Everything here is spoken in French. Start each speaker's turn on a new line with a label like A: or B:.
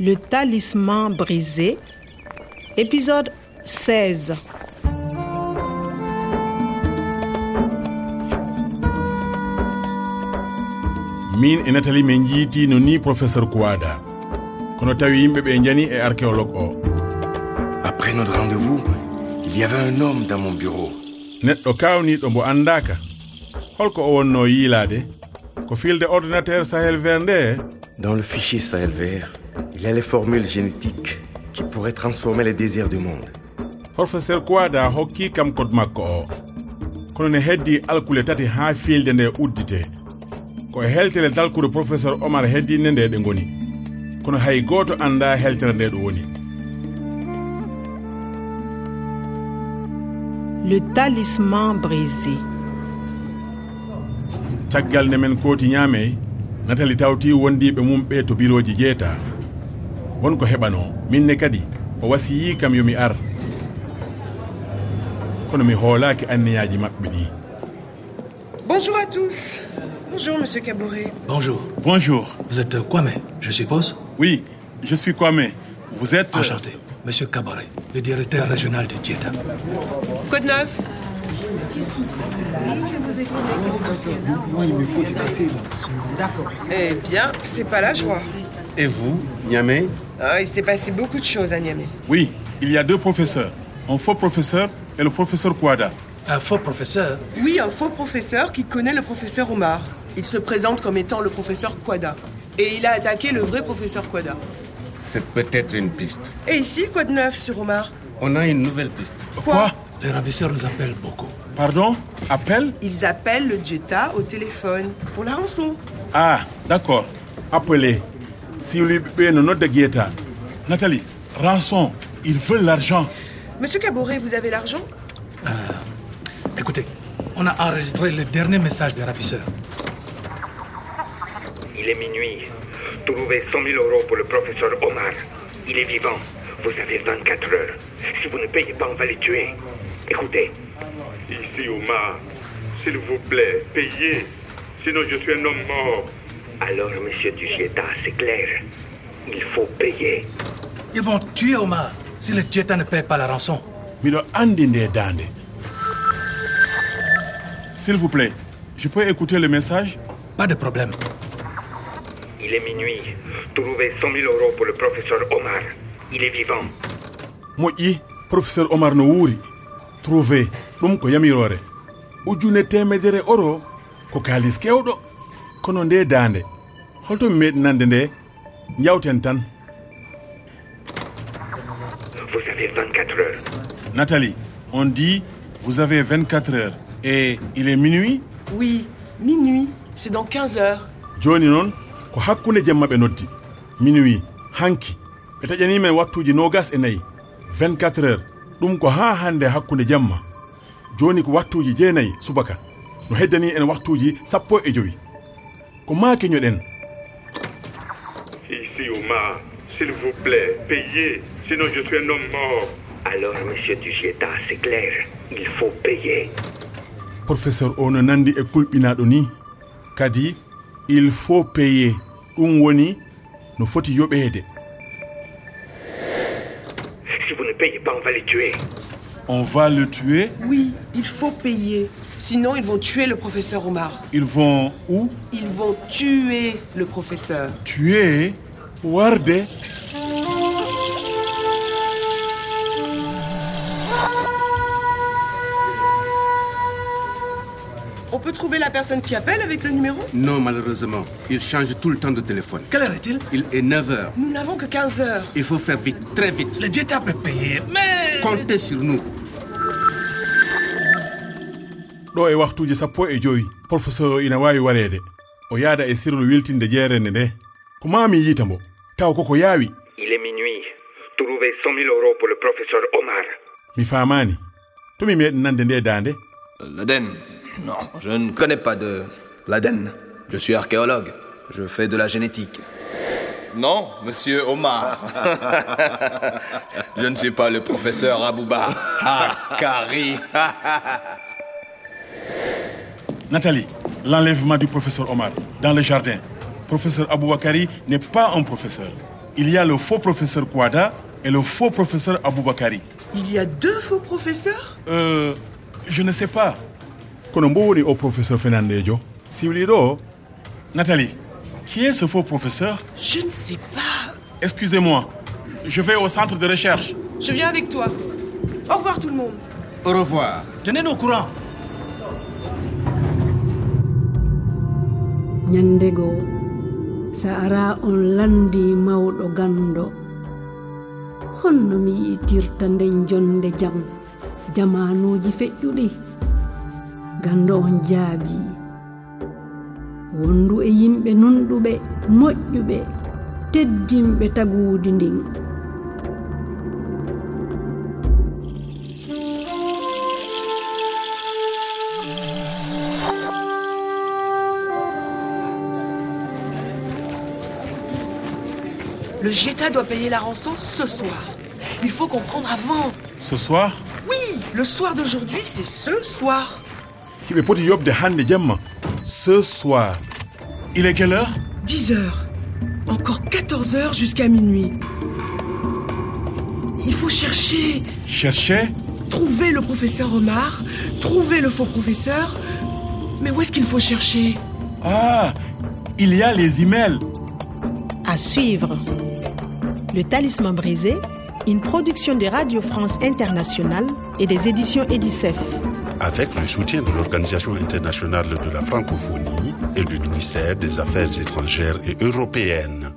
A: Le talisman brisé, épisode 16.
B: min e natali min jiiti no ni professeur kowada kono tawi yimɓe ɓe jani e archéologue o
C: Après notre rendez-vous, il y avait un homme dans mon bureau.
B: neɗɗo kawniɗo mbo andaka holko o wonno yiilade ko filde ordinateur sahel ver nde e?
C: Dans le fichier SALVR, il y a les formules génétiques qui pourraient transformer les désirs du monde.
B: professeur kowada hokki kam kod makko o kono ne heddi alkule tati ha filde nde uddite ko e heltere dalkude professeur omar heddinde nde ɗe goni kono hay goto anda heltere nde ɗo woni
A: Le talisman brisé.
B: caggal nde men kooti ñaamey natali tawti wondiɓe mum ɓe to biroji jeeta wonko heɓano minne kadi o wasiyi kam yomi ar kono mi hoolaki anniyaji maɓɓe ɗi
D: Bonjour à tous. Bonjour, monsieur Caboret.
E: Bonjour,
F: Bonjour,
E: vous êtes Kwame, je suppose
F: oui, je suis Kwame. Vous êtes... euh,
E: Enchanté. Monsieur Cabaret, le directeur régional de Dieta.
D: Code 9. Eh bien, c'est pas la joie.
C: Et vous, Niamey
D: Ah, il s'est passé beaucoup de choses à Niamey.
F: Oui, il y a deux professeurs. Un faux professeur et le professeur Kouada.
E: Un faux professeur
D: Oui, un faux professeur qui connaît le professeur Omar. Il se présente comme étant le professeur Quada. Et il a attaqué le vrai professeur Quada.
G: C'est peut-être une piste.
D: Et ici, Code 9 sur Omar.
G: On a une nouvelle piste.
E: Les ravisseurs nous appellent beaucoup.
F: Pardon Appel
D: Ils appellent le Jetta au téléphone pour la rançon.
F: Ah, d'accord.
B: appelé siwliɓe ɓe no nodda gueeta
F: Nathalie, rançon, ils veulent l'argent.
D: Monsieur Caboret, vous avez l'argent
E: Écoutez, on a enregistré le dernier message des ravisseurs.
H: Il est minuit. Trouvez 100 000 euros pour le professeur Omar. Il est vivant. Vous avez 24 heures. Si vous ne payez pas, on va les tuer. Écoutez.
I: Ici, Omar, s'il vous plaît, payez. Sinon, je suis un homme mort.
H: Alors, monsieur Dugieta, c'est clair. Il faut payer.
E: Ils vont tuer Omar si le Dieta ne paye pas la rançon.
B: miɗo andi nde dande
F: S'il vous plaît, je peux écouter le message
E: Pas de problème.
H: Il est minuit. Trouvez 100 000 euros pour le professeur Omar. Il est vivant.
B: moƴƴi professeur omar no wuuri trouvé ɗum ko yamirore ujune temedere oro ko kaalis kewɗo kono nde dande holtomi meeɗi nande nde jawten tan
H: Vous avez 24 heures.
F: Nathalie, on dit, vous avez 24 heures et il est minuit
D: Oui, minuit. C'est dans 15 heures.
B: joni noon ko hakkunde jemma ɓe noddi minuit hanki ɓe taƴanimen wattuji nogas e nayyi 24 heures ɗum ko ha hande hakkunde jemma joni ko wattuji jeenayyi subaka no heddani en wattuji sappo e joyi ko ma keñoɗen
I: Ici, Omar, s'il vous plaît, payez. Sinon, je suis un homme mort.
H: Alors, monsieur Dugieta, c'est clair. Il faut payer.
B: professeur o no nandi e kulɓinaɗo ni kadi il faut payer ɗum woni no foti yoɓeede
H: Si vous ne payez pas, on va les tuer.
F: On va le tuer
D: Oui, il faut payer. Sinon, ils vont tuer le professeur Omar.
F: Ils vont où
D: Ils vont tuer le professeur.
F: Tuer
B: warde
D: On peut trouver la personne qui appelle avec le numéro
G: Non, malheureusement. Il change tout le temps de téléphone.
E: Quelle heure est-il
G: Il est 9h.
D: Nous n'avons que 15 heures.
G: Il faut faire vite, très vite.
E: Le Dieta peut payer, mais...
G: Comptez sur nous.
B: ɗo e waktuji sappo e joyi professeur o ina wawi wareede o yaada e sirlu wiltinde jeerende nde ko mami yiita mbo taw koko yaawi
H: Il est minuit. Trouvez 100 000 euros pour le professeur Omar.
B: mi famani tomi meeɗi nande nde dande
J: Euh, L'Aden Non, je ne connais pas de l'Aden. Je suis archéologue. Je fais de la génétique. Non, monsieur Omar. je ne suis pas le professeur Abouba. Ah, Kari.
F: Nathalie, l'enlèvement du professeur Omar dans le jardin. Professeur Aboubakari n'est pas un professeur.
B: il y a le faux professeur Kouada et le faux professeur Aboubakari.
D: Il y a deux faux professeurs
B: Euh, je ne sais pas.
K: kono mbo woni o professeur fernandejo siwliɗo o
B: Nathalie, qui est ce faux professeur
D: Je ne sais pas.
B: Excusez-moi, je vais au centre de recherche.
D: Je viens avec toi. Au revoir tout le monde.
G: Au revoir.
L: Tenez-nous au courant.
M: ñande goo sa ara on landi mawɗo ganndo honno mi yi'itirta nden jonde jam jamanuuji feƴƴuɗi ganndo on jaabi wondu e yimɓe nunɗuɓe moƴƴuɓe teddinɓe taguudi ndin
D: Le Jetta doit payer la rançon ce soir. Il faut comprendre avant.
B: Ce soir,
D: Oui, le soir d'aujourd'hui, c'est ce soir.
K: hiɓe poti yobde hannde jamma ce soir
B: il est quelle heure
D: 10 heures. Encore 14 heures jusqu'à minuit. Il faut chercher,
B: Cherchez
D: trouver le professeur Omar, trouver le faux professeur. Mais où est-ce qu'il faut chercher
B: Ah, il y a les emails.
A: À suivre. Le Talisman brisé, une production de Radio France Internationale et des éditions Edicef.
C: avec le soutien de l'Organisation internationale de la francophonie et du ministère des Affaires étrangères et européennes.